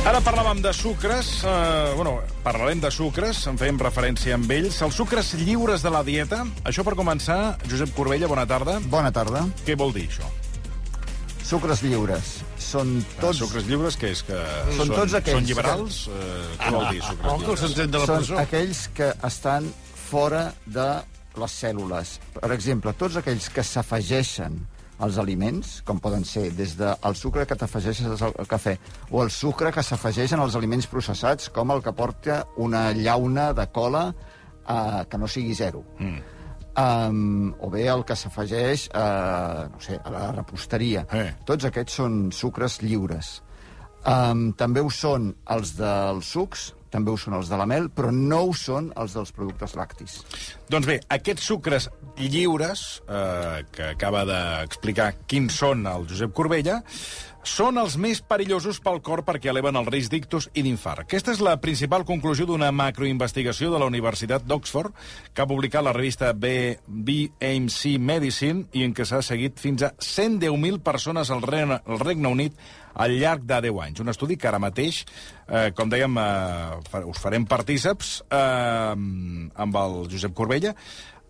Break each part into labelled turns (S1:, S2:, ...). S1: Ara parlàvem de sucres, eh, bueno, parlarem de sucres, en fèiem referència amb ells. Els sucres lliures de la dieta, això per començar, Josep Corbella, bona tarda.
S2: Bona tarda.
S1: Què vol dir això?
S2: Sucres lliures. Són
S1: Tots...
S2: tots...
S1: Sucres lliures, què és? Que
S2: Doncs Són tots aquells Ah,
S1: Són lliberals? Eh, què vol dir, sucres lliures?
S3: s'entén de
S2: són aquells que estan fora de les cèl·lules. Per exemple, tots aquells que s'afegeixen als aliments, com poden ser des del sucre que t'afegeixes al cafè o el sucre que s'afegeixen als aliments processats, com el que porta una llauna de cola eh, que no sigui zero. Mm. Um, o bé el que s'afegeix eh, no sé, a la reposteria.
S1: Eh.
S2: Tots aquests són sucres lliures. Um, també ho són els dels sucs, també ho són els de la mel, però no ho són els dels productes lactis.
S1: Doncs bé, aquests sucres lliures, eh, que acaba d'explicar quins són el Josep Corbella, són els més perillosos pel cor perquè eleven el risc d'ictus i d'infart. Aquesta és la principal conclusió d'una macroinvestigació de la Universitat d'Oxford que ha publicat la revista B BMC Medicine i en què s'ha seguit fins a 110.000 persones al Regne, al Regne Unit al llarg de 10 anys. Un estudi que ara mateix, eh, com dèiem, eh, fa- us farem partíceps eh, amb el Josep Corbella.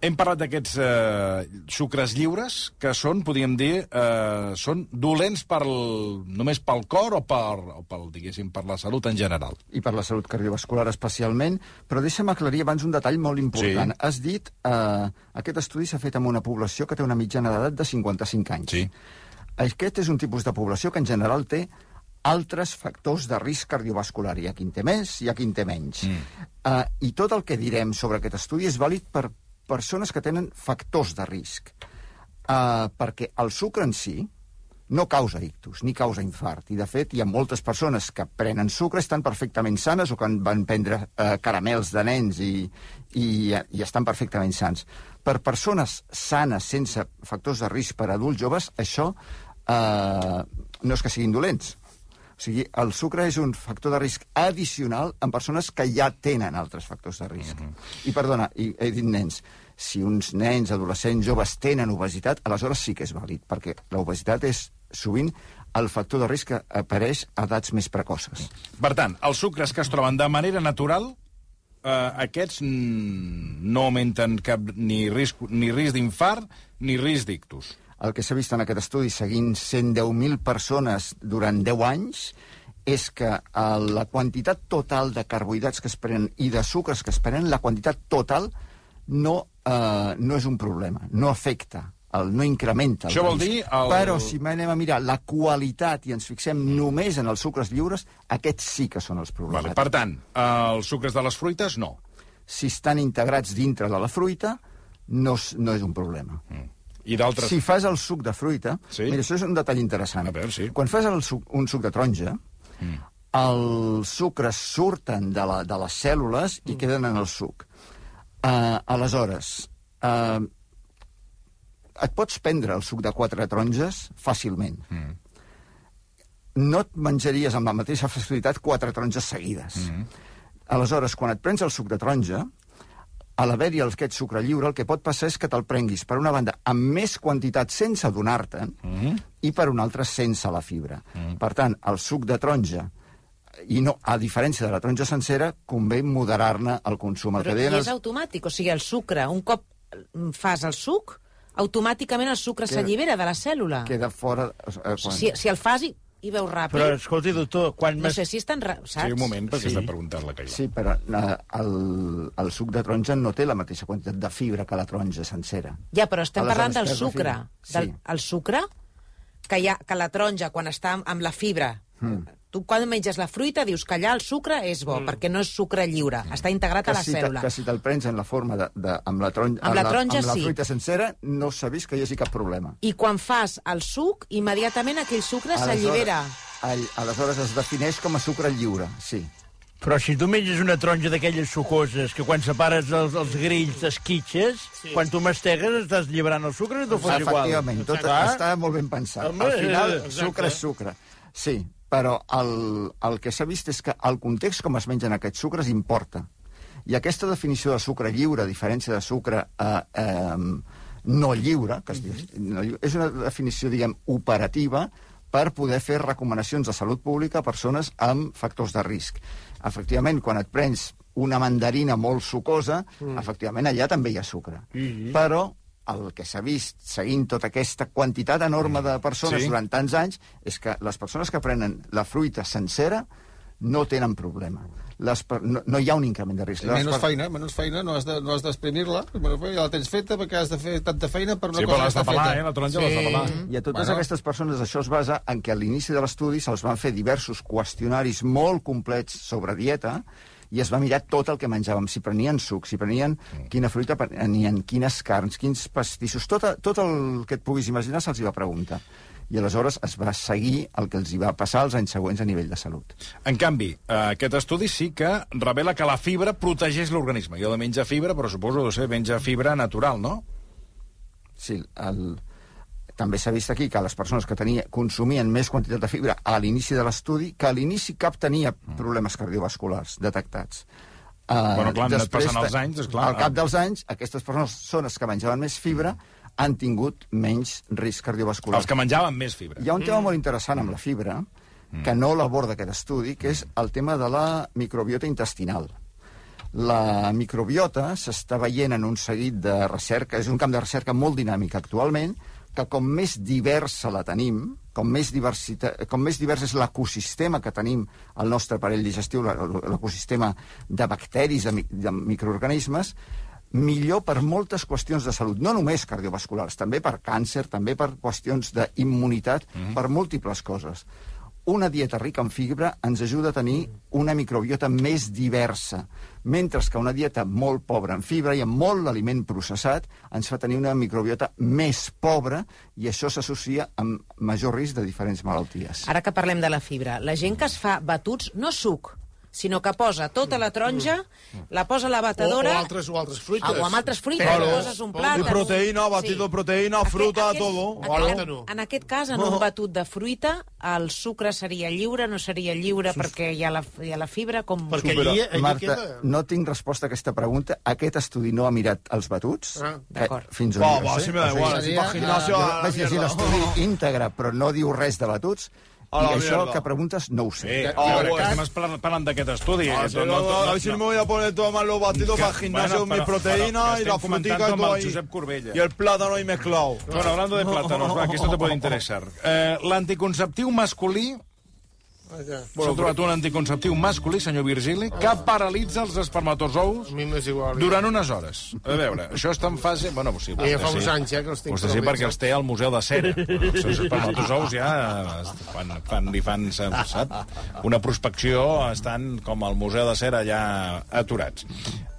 S1: Hem parlat d'aquests eh, sucres lliures, que són, podríem dir, eh, són dolents pel, només pel cor o per, o pel, diguéssim, per la salut en general.
S2: i per la salut cardiovascular especialment, però deixa'm aclarir abans un detall molt important.
S1: Sí.
S2: Has dit, eh, aquest estudi s'ha fet amb una població que té una mitjana d'edat de 55 anys.
S1: Sí.
S2: Aquest és un tipus de població que en general té altres factors de risc cardiovascular. Hi ha qui en té més, hi ha qui en té menys. Mm. Eh, I tot el que direm sobre aquest estudi és vàlid per persones que tenen factors de risc. Eh, perquè el sucre en si, no causa ictus ni causa infart. I, de fet, hi ha moltes persones que prenen sucre, estan perfectament sanes o que en van prendre eh, caramels de nens i, i, i estan perfectament sants. Per persones sanes, sense factors de risc per adults joves, això eh, no és que siguin dolents. O sigui, el sucre és un factor de risc addicional en persones que ja tenen altres factors de risc. Mm -hmm. I, perdona, i, he dit nens. Si uns nens, adolescents, joves tenen obesitat, aleshores sí que és vàlid, perquè l'obesitat és sovint el factor de risc que apareix a edats més precoces.
S1: Per tant, els sucres que es troben de manera natural, eh, aquests mm, no augmenten cap ni risc, ni risc d'infart ni risc d'ictus.
S2: El que s'ha vist en aquest estudi, seguint 110.000 persones durant 10 anys, és que eh, la quantitat total de carbohidrats que es prenen i de sucres que es prenen, la quantitat total no, eh, no és un problema, no afecta, el, no incrementa el
S1: Això vol
S2: risc.
S1: dir el-
S2: Però si anem a mirar la qualitat i ens fixem només en els sucres lliures, aquests sí que són els problemes.
S1: Vale. Per tant, eh, els sucres de les fruites, no.
S2: Si estan integrats dintre de la fruita, no, és- no és un problema.
S1: I d'altres...
S2: Si fas el suc de fruita...
S1: Sí.
S2: Mira, això és un detall interessant.
S1: A veure, sí.
S2: Quan fas el suc, un suc de taronja, mm. els sucres surten de, la, de les cèl·lules
S1: Mm.
S2: i queden en el suc. Uh, aleshores, uh, et pots prendre el suc de quatre taronges fàcilment. Mm. No et menjaries amb la mateixa facilitat quatre taronges seguides. Mm. Aleshores, quan et prens el suc de taronja, a l'haver-hi el- aquest sucre lliure, el que pot passar és que te'l prenguis, per una banda, amb més quantitat sense donar-te'n, i per una altra, sense la fibra. Per tant, el suc de taronja, i no, a diferència de la taronja sencera, convé moderar-ne el consum. El
S4: Però
S2: que deien
S4: i és
S2: els-
S4: automàtic, o sigui, el sucre, un cop mm, fas el suc, automàticament el sucre
S2: Queda-
S4: s'allibera de la cèl·lula.
S2: queda fora... eh, quan-
S4: Si, si el fas i, i veus ràpid,
S3: Però, escolti, doctor, quan...
S4: no sé si és tan... ra- Saps?
S1: Sí, un moment, perquè
S3: Sí.
S1: sí. està preguntant la Caila.
S2: Sí, però eh, el, el suc de taronja no té la mateixa quantitat de fibra que la taronja sencera.
S4: Ja, però estem
S2: Aleshores,
S4: parlant del
S2: perds la
S4: sucre.
S2: fibra.
S4: Del,
S2: Sí.
S4: el sucre, que, hi ha, que la taronja, quan està amb, amb la fibra...
S2: Hmm.
S4: Mm. Tu, quan menges la fruita, dius que allà el sucre és
S1: Hmm.
S4: bo, mm. perquè no és sucre lliure, mm. està integrat a la
S2: si te-
S4: cèl·lula.
S2: Hmm. que si te'l prens en la forma de... de amb la, taronja,
S4: Amb la taronja,
S2: amb la
S4: sí.
S2: fruita sencera, no s'ha vist que hi hagi cap problema.
S4: I quan fas el suc, immediatament aquell sucre s'allibera.
S2: All, aleshores es defineix com a sucre lliure, sí.
S3: Però si tu menges una taronja d'aquelles sucoses que quan separes els, els grills t'esquitxes, sí. quan tu mastegues estàs lliberant el sucre i tu fas igual. Ah?
S2: Efectivament, tot
S3: Clar.
S2: està molt ben pensat.
S3: Home,
S2: Al final,
S3: eh, exacte.
S2: sucre és sucre. Sí, però el, el que s'ha vist és que el context com es mengen aquests sucres importa. I aquesta definició de sucre lliure, a diferència de sucre eh, Mhm. eh, no lliure, que es diu, no lliure, és una definició, diguem, operativa, per poder fer recomanacions de salut pública a persones amb factors de risc. Efectivament, quan et prens una mandarina molt sucosa, mm. efectivament allà també hi ha sucre. Mm. Però el que s'ha vist seguint tota aquesta quantitat enorme de persones
S1: Sí.
S2: Mm. sí. durant tants anys és que les persones que prenen la fruita sencera no tenen problema. Les per... no, no hi ha un increment de risc. Les
S5: Menys
S2: per-
S5: feina, menys feina, no has de- no has d'esprimir-la, menys feina, ja la tens feta perquè has de fer tanta feina per una
S1: Sí, però
S5: cosa que
S1: l'has de
S5: està
S1: pelar,
S5: feta.
S1: eh? La taronja l'has de pelar.
S2: Mm-hmm. I a totes
S5: Bueno.
S2: bueno. aquestes persones això es basa en que a l'inici de l'estudi se'ls van fer diversos qüestionaris molt complets sobre dieta i es va mirar tot el que menjàvem, si prenien suc, si prenien
S5: Mm.
S2: quina fruita prenien, quines carns, quins pastissos, tot, a- tot el que et puguis imaginar se'ls hi va preguntar. I aleshores es va seguir el que els hi va passar els anys següents a nivell de salut.
S1: En canvi, eh, aquest estudi sí que revela que la fibra protegeix l'organisme. Jo de menja fibra, però suposo de ser menja fibra natural, no?
S2: Sí, el... també s'ha vist aquí que les persones que tenia, consumien més quantitat de fibra a l'inici de l'estudi, que a l'inici cap tenia problemes cardiovasculars detectats. Uh,
S1: Mm. Bueno, clar, han anat passant els anys, eh. esclar.
S2: Al cap dels anys, aquestes persones són les que menjaven més fibra, han tingut menys risc cardiovascular.
S1: Mm. Els que menjaven més fibra.
S2: Hi ha un tema molt interessant amb la fibra, que
S1: Mm.
S2: no l'aborda aquest estudi, que és el tema de la microbiota intestinal. La microbiota s'està veient en un seguit de recerca, és un camp de recerca molt dinàmic actualment, que com més diversa la tenim, com més, diversita, com més divers és l'ecosistema que tenim al nostre aparell digestiu, la- l'ecosistema de bacteris, de, mi- de microorganismes, millor per moltes qüestions de salut, no només cardiovasculars, també per càncer, també per qüestions d'immunitat, mm. per múltiples coses. Una dieta rica en fibra ens ajuda a tenir una microbiota més diversa, mentre que una dieta molt pobra en fibra i amb molt d'aliment processat ens fa tenir una microbiota més pobra i això s'associa amb major risc de diferents malalties.
S4: Ara que parlem de la fibra, la gent que es fa batuts, no suc, sinó que posa tota la taronja, la posa a la batedora...
S5: O- o altres- o altres fruites.
S4: Ah, O amb altres fruites,
S5: Però-
S4: però, poses un
S5: Però-
S4: plàtan...
S3: I proteïna, batido de proteïna, fruta, todo.
S5: O
S4: Aquest,
S5: àlcano.
S4: en aquest cas, en un batut de fruita, el sucre seria lliure, no seria lliure perquè hi ha la, hi ha la fibra, com...
S5: Perquè allí, allí
S2: Marta,
S5: queda...
S2: no tinc resposta a aquesta pregunta. Aquest estudi no ha mirat els batuts.
S5: Ah,
S4: d'acord.
S2: Eh, fins on
S3: Va,
S2: jo
S3: Oh, va,
S2: sé.
S3: si me
S2: O
S3: da
S2: sigui,
S3: igual. Si
S5: seria-
S3: pa gimnasio
S2: Jo
S3: a la
S2: vaig llegir
S3: mierda.
S2: l'estudi íntegre, però no diu res de batuts. I
S3: A la
S2: això
S3: mierda.
S2: que preguntes no ho
S1: Sí,
S2: sé.
S1: a
S3: Oh,
S1: veure, que
S3: bueno.
S1: estem espla- parlant d'aquest estudi.
S3: Ah,
S1: eh,
S3: sí, no, no, a ver si me voy a poner todo mal los batidos
S1: Que-
S3: para gimnasio,
S1: bueno,
S3: mi
S1: pero- pero
S3: proteína
S1: que
S3: y la
S1: estoy
S3: frutica y
S1: fomentando
S3: todo
S1: al
S3: ahí.
S1: Josep Corbella.
S3: Y el plátano ahí mezclado.
S1: Bueno, hablando de plátanos, va, que esto te puede interesar. Eh, L'anticonceptiu masculí...
S5: Allà.
S1: S'ha trobat un anticonceptiu masculí, senyor Virgili, que paralitza els espermatozous
S5: A mi m'és igual.
S1: durant unes hores. A veure, això està en fase... Bueno, sí,
S5: Ja fa uns anys, ja, que els tinc
S1: Vostè sí,
S5: paralitzats.
S1: perquè els té al Museu de Cera. Els seus espermatozous ja es fan, fan, li fan, sap? Una prospecció, estan com al Museu de Cera ja aturats.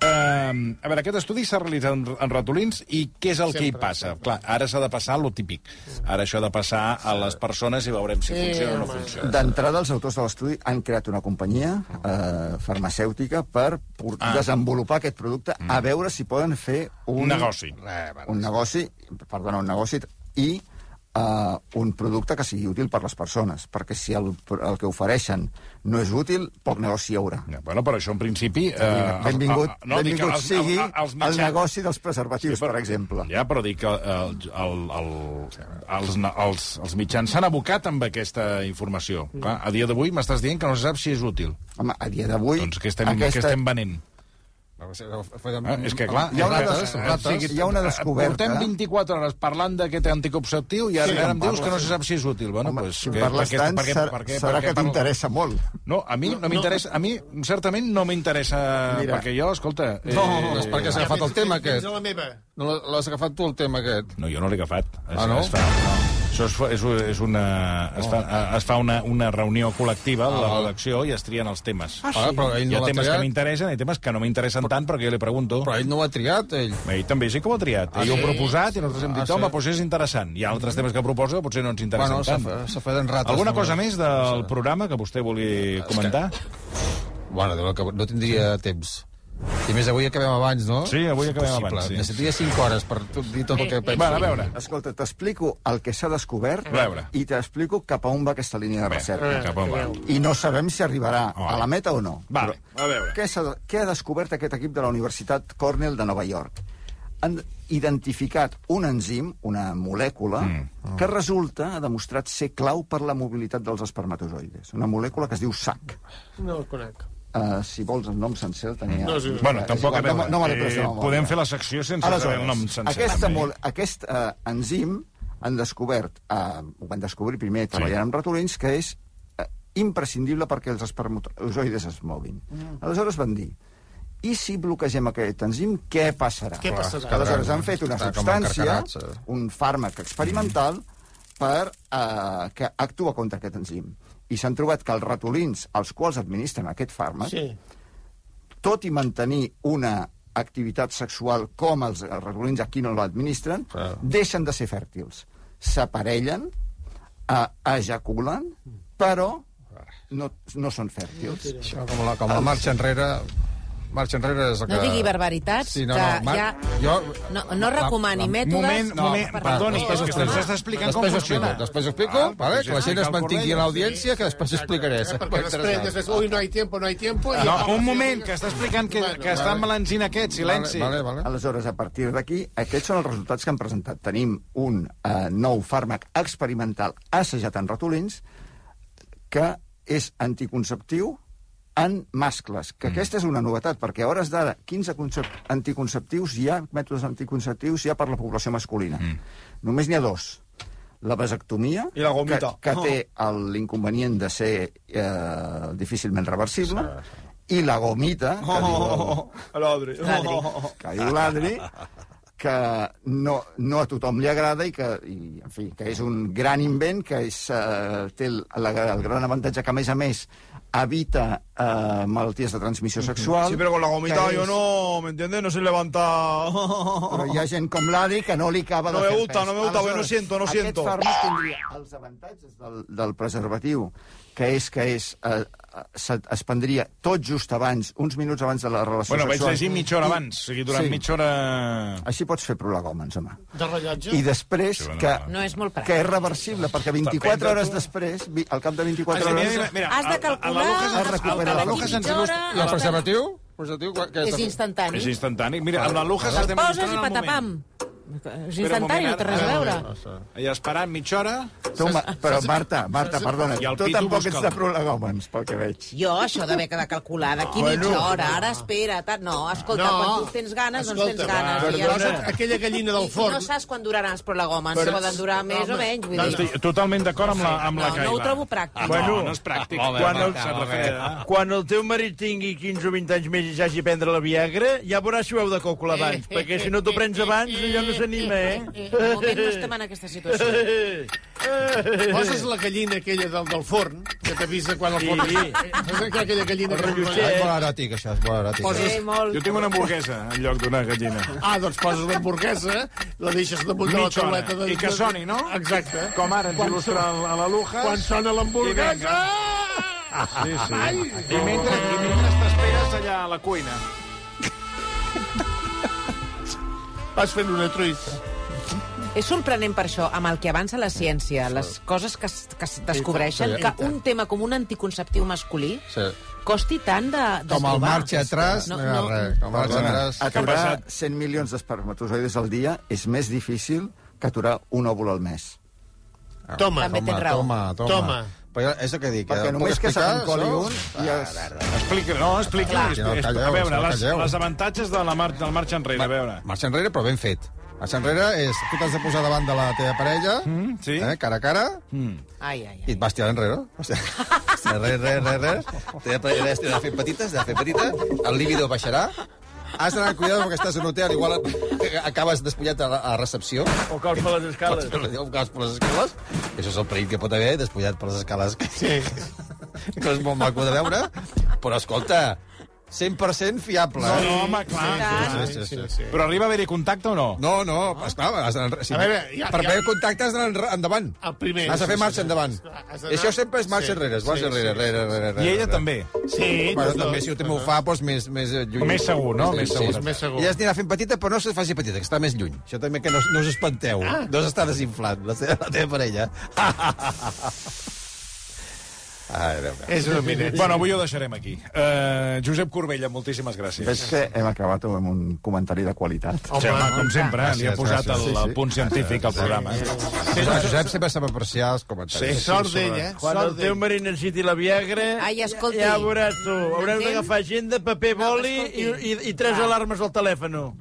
S1: Um, a veure, aquest estudi s'ha realitzat en, en ratolins i què és el que hi passa? Clar, ara s'ha de passar lo típic. Ara això ha de passar a les persones i veurem si funciona o no funciona.
S2: D'entrada, els autors de l'estudi han creat una companyia eh, farmacèutica per por- desenvolupar aquest producte a veure si poden fer un...
S1: Ah. Mm. Un negoci. Eh,
S2: Un negoci, perdona, un negoci i eh, un producte que sigui útil per les persones, perquè si el, el que ofereixen no és útil, poc negoci hi haurà.
S1: Ja, bueno, però això en principi... Eh,
S2: benvingut,
S1: a- a-
S2: no,
S1: dic que
S2: benvingut
S1: els-
S2: sigui
S1: a- a- als
S2: el
S1: mitjans-
S2: negoci dels preservatius,
S1: Sí, però-
S2: per exemple.
S1: Ja, però dic que eh, el, el, el, els, els, els mitjans s'han abocat amb aquesta informació.
S2: Mm.
S1: Clar, a dia d'avui m'estàs dient que no se sap si és útil.
S2: Home, a dia d'avui...
S1: Doncs què estem, aquesta... què estem venent? Ah, és que, clar...
S2: Hi ha una,
S1: és que-
S2: des...
S1: eh,
S2: rates, hi ha una descoberta...
S1: Portem 24 hores parlant d'aquest anticonceptiu i ara,
S2: Sí,
S1: sí, ara em
S2: en
S1: dius
S2: parles.
S1: que no se sap si és útil. Bueno,
S2: Home,
S1: pues,
S2: si en parles tant, serà, serà que t'interessa molt.
S1: No, a mi no, m'interessa... A mi, certament, no m'interessa...
S2: Mira.
S1: Perquè jo, escolta... Eh,
S5: No,
S1: no,
S5: és perquè has agafat el tema aquest.
S6: Fins a la meva.
S5: No l'ha- l'has agafat tu, el tema aquest.
S1: No, jo no l'he agafat. Es,
S5: Ah, no?
S1: Es fa, Això es fa, és, és una, es fa, es fa una, una reunió col·lectiva de la
S5: Ah, val.
S1: redacció i es trien els temes. Ah,
S5: Ara, però ell
S1: hi
S5: no
S1: ha
S5: l'ha
S1: temes que
S5: triat.
S1: m'interessen i temes que no m'interessen tant perquè jo li pregunto.
S5: Però ell no ho ha triat, ell.
S1: Ell també sí que ho ha triat. Ell ho ha proposat i nosaltres hem dit,
S5: Ah, sí.
S1: home, doncs és interessant. Hi ha altres temes que proposa que potser no ens interessen
S5: Bueno, s'ha
S1: tant.
S5: fe- s'ha fet en rates.
S1: Alguna
S5: només.
S1: cosa més del programa que vostè vulgui comentar?
S5: Bueno, Déu, que no tindria temps. I a més, avui acabem abans, no?
S1: Sí, avui acabem
S5: Impossible.
S1: abans, sí.
S5: Necessitaria 5 hores per tot, dir tot el que penso.
S1: Bueno, a veure.
S2: Escolta, t'explico el que s'ha descobert
S1: A veure.
S2: i t'explico cap a on va aquesta línia de
S1: Bé, eh,
S2: recerca.
S1: cap on va.
S2: I no sabem si arribarà
S1: Oh.
S2: a la meta o no.
S1: Vale, a veure.
S2: Què, ha, què ha descobert aquest equip de la Universitat Cornell de Nova York? Han, identificat un enzim, una molècula, mm. que resulta, ha demostrat ser clau per la mobilitat dels espermatozoides. Una molècula que es diu SAC.
S6: No el conec.
S2: Uh, si vols el nom sencer el tenia...
S6: No, sí, sí.
S1: Bueno, tampoc...
S2: a
S1: a veure,
S2: no, no me l'he pres de
S1: eh,
S2: memòria.
S1: podem fer la secció sense saber el nom sencer.
S2: Aquesta
S1: també.
S2: mol, aquest eh, enzim han descobert, eh, ho van descobrir primer treballant amb ratolins, que és eh, imprescindible perquè els espermatozoides es moguin. Mm. Aleshores van dir, i si bloquegem aquest enzim, què passarà?
S6: Què passarà?
S2: Aleshores han fet una
S5: Estarà com
S2: substància,
S5: encarcarats, eh?
S2: un fàrmac experimental, per, eh, que actua contra aquest enzim. I s'han trobat que els ratolins, als quals administren aquest fàrmac,
S6: Sí.
S2: tot i mantenir una activitat sexual com els, els ratolins aquí no l'administren,
S5: Clar.
S2: deixen de ser fèrtils. S'aparellen, eh, ejaculen, però no, no són fèrtils.
S5: Això, com la, com la marxa enrere... Marxa enrere és el que...
S4: No digui barbaritats,
S5: Sí, no,
S4: que
S5: no, mar...
S4: ja-
S5: Jo...
S4: No, no recomani mètodes...
S1: Moment,
S4: per-
S1: moment,
S4: per-
S1: perdoni,
S5: Després
S1: és que
S5: explico.
S1: ens està explicant com
S5: després ho
S1: funciona.
S5: Explico, després ho explico,
S1: Ah,
S5: vale? que la gent
S1: explica
S5: es
S1: el
S5: mantingui
S1: corrent.
S5: en l'audiència, que després ho explicaré.
S6: Eh,
S5: serà
S6: perquè
S5: molt
S6: després,
S5: interessant.
S6: després, ui, no hi tiempo, no hi tiempo... i-
S1: No, un moment, que està explicant que, que està amb l'enzina aquest, silenci.
S5: Vale, vale, vale.
S2: Aleshores, a partir d'aquí, aquests són els resultats que han presentat. Tenim un eh, nou fàrmac experimental assajat en ratolins que és anticonceptiu en mascles, que mm. aquesta és una novetat, perquè a hores d'ara 15 concep- anticonceptius hi ha, mètodes anticonceptius hi ha per la població masculina. Mm. Només n'hi ha dos. La vasectomia,
S6: I la
S2: que,
S6: gomita.
S2: que té el- l'inconvenient de ser eh, difícilment reversible, i la gomita,
S6: Oh.
S2: que diu el,
S6: A l'Odri.
S4: L'Adri.
S2: que diu l'Adri, que no, no a tothom li agrada i que, i, en fi, que és un gran invent, que és, eh, té el, la, el gran avantatge que, a més a més, evita eh, malalties de transmissió sexual.
S6: Sí, pero con la gomita
S2: que
S6: yo
S2: és-
S6: no, ¿me entiendes? No se levanta.
S2: Però hi ha gent com l'Adri que no li acaba
S6: No
S2: de
S6: me
S2: fer
S6: gusta,
S2: pes.
S6: no me gusta,
S2: Aleshores,
S6: no siento, no siento.
S2: Aquest fàrmac tindria els avantatges del, del preservatiu, que és que és, eh, eh, se- es prendria tot just abans, uns minuts abans de la relació
S1: Bueno, vaig
S2: sexual.
S1: llegir mitja hora abans, o sigui, durant
S2: Sí.
S1: sí. mitja hora...
S2: Així pots fer prolegòmens, home.
S6: De rellotge?
S2: I després,
S1: Sí, bueno,
S2: que,
S4: No és molt
S2: que
S4: pràctic.
S2: és reversible, perquè 24 hores després, vi- al cap de 24 hores...
S4: Has de calcular...
S2: es recupera.
S4: a la
S2: L'aloja
S4: mitja
S1: sense gust.
S4: hora,
S5: I el preservatiu? Preservatiu, què- què
S4: És instantani.
S1: És instantani. Mira, amb la Luja
S4: El
S1: s'estem
S4: poses
S1: en
S4: i
S1: el moment.
S4: patapam. És
S1: Espera un
S4: instantani,
S1: moment,
S4: no té res a
S1: ara-
S4: veure.
S1: I esperant mitja hora...
S2: Tu, ma- però, Marta, Marta, perdona,
S1: I el
S2: tu
S1: pito
S2: tampoc
S1: busca-lo.
S2: ets de prolegòmens, pel que veig.
S4: Jo, això d'haver de calcular d'aquí bueno, mitja hora, ara espera, tal... No, escolta,
S6: No.
S4: no. quan tu tens ganes, doncs tens
S6: Escolta,
S4: ganes.
S6: va,
S4: i ja
S6: perdona,
S4: està.
S6: aquella gallina del
S4: I
S6: forn.
S4: No saps quan duraran els prolegòmens, si poden durar més o menys. Vull dir.
S1: Estic totalment d'acord amb la, amb la
S4: No, no
S1: Caila.
S4: ho trobo pràctic.
S1: Bueno,
S3: No,
S1: no
S3: no
S1: és pràctic.
S5: Molt bé,
S1: Quan
S5: molt
S1: el- Eh,
S5: bé,
S1: se'n
S5: molt bé.
S1: refreda.
S3: Quan el teu marit tingui 15 o 20 anys més i s'hagi a prendre la Viagra, ja veuràs si ho heu de calcular abans, perquè si no t'ho prens abans, allò no s'anima, eh?
S4: De moment no estem en aquesta situació.
S6: Poses la gallina aquella del, del forn, que t'avisa quan el forn...
S3: Sí.
S6: Saps que aquella gallina...
S3: El
S6: que-
S3: rellotger.
S5: És molt eròtic, això, és molt eròtic.
S4: Sí, molt.
S1: Jo tinc una hamburguesa en lloc d'una gallina.
S6: Ah, doncs poses l'hamburguesa, la deixes damunt de la
S1: Mitja hora.
S6: tauleta... De...
S1: I que soni, no?
S6: Exacte.
S1: Com ara ens il·lustra el- a la Luja.
S6: Quan sona
S1: I
S6: l'hamburguesa...
S1: Sí, sí.
S6: Ai!
S1: I mentre, i mentre t'esperes allà a la cuina.
S6: Vas fent una truita.
S4: És sorprenent per això, amb el que avança la ciència, les coses que, es- que es descobreixen, que un tema com un anticonceptiu masculí
S5: Sí.
S4: costi tant de, de
S5: Com el
S4: trobar.
S5: marxa atràs, no, no, res. Com el marxa atràs...
S2: Aturar
S1: passat?
S2: 100 milions d'espermatozoides al dia és més difícil que aturar un òvul al mes.
S6: Ah, Toma.
S4: També tens raó.
S5: Toma, toma.
S6: Toma.
S5: Però és el que dic.
S2: Perquè
S5: eh,
S2: només
S5: puc
S2: que se
S5: explicar,
S2: n'encoli
S5: això?
S2: un i
S1: Ah,
S2: es...
S1: Explica, no, explica.
S5: Clar.
S1: explica-
S5: No calleu,
S1: a veure,
S5: no
S1: les,
S5: calleu.
S1: les avantatges de la mar del marxa enrere, a veure.
S5: Marxa enrere, però ben fet. Marxa enrere és... Tu t'has de posar davant de la teva parella, mm,
S1: sí.
S5: eh, cara a cara,
S4: Ai, ai,
S5: i
S4: ai.
S5: et vas tirar enrere. Vas tirar- vas tirar Enrere, enrere, enrere. Teva parella has de fer petites, de fer petita, el líbido baixarà, Has d'anar amb cuidado perquè estàs en un hotel, igual eh, acabes despullat a, la- a recepció.
S3: O caus per les escales.
S5: Ho caus per les escales. Això és el perill que pot haver, despullat per les escales. Sí. que és molt maco de veure. Però, escolta, 100% fiable.
S1: No,
S5: eh?
S1: no, home, clar.
S5: Sí, sí, sí, sí.
S1: Però arriba a haver-hi contacte o no?
S5: No, no, esclar, has d'anar... Si,
S6: A veure, ja-
S5: per
S6: ja-
S5: veure contacte has d'anar enre- endavant.
S6: El primer.
S5: Has de fer
S6: Sí,
S5: marxa
S6: sí,
S5: endavant.
S6: sí, has
S5: I
S6: d'anar-
S5: això sempre és marxa
S6: Sí,
S5: enrere, és marxa
S6: sí,
S5: enrere,
S6: sí,
S5: enrere, enrere, enrere.
S1: I ella també.
S6: Sí,
S5: Bueno,
S6: tots
S5: també,
S6: dos.
S5: si també ho fa, doncs més, més eh, lluny.
S1: Més segur, no? Més segur.
S6: Més segur.
S5: Ella es anirà fent petita, però no se faci petita, que està més lluny. Això també que no, us- no us espanteu. Ah. No s'està desinflant, la teva, la teva parella. Ah, adéu, adéu.
S6: És una mina.
S1: Bueno, avui ho deixarem aquí. Uh, Josep Corbella, moltíssimes gràcies.
S2: Ves que hem acabat amb un comentari de qualitat.
S1: Home, Home, com sempre, eh, li ha
S5: gràcies,
S1: posat el,
S5: gràcies. Sí,
S1: el punt científic al programa. eh.
S5: Josep sempre sap apreciar els comentaris.
S1: Sí.
S6: Sort d'ella, eh?
S3: Quan el
S6: sort
S3: teu
S6: d'ella.
S3: marit necessiti la Viagra,
S4: Ai, escolti.
S3: ja veuràs tu. Hauràs
S4: Entén?
S3: d'agafar agenda, paper, boli
S4: escolti.
S3: i, i, i tres
S4: Va.
S3: alarmes al telèfon.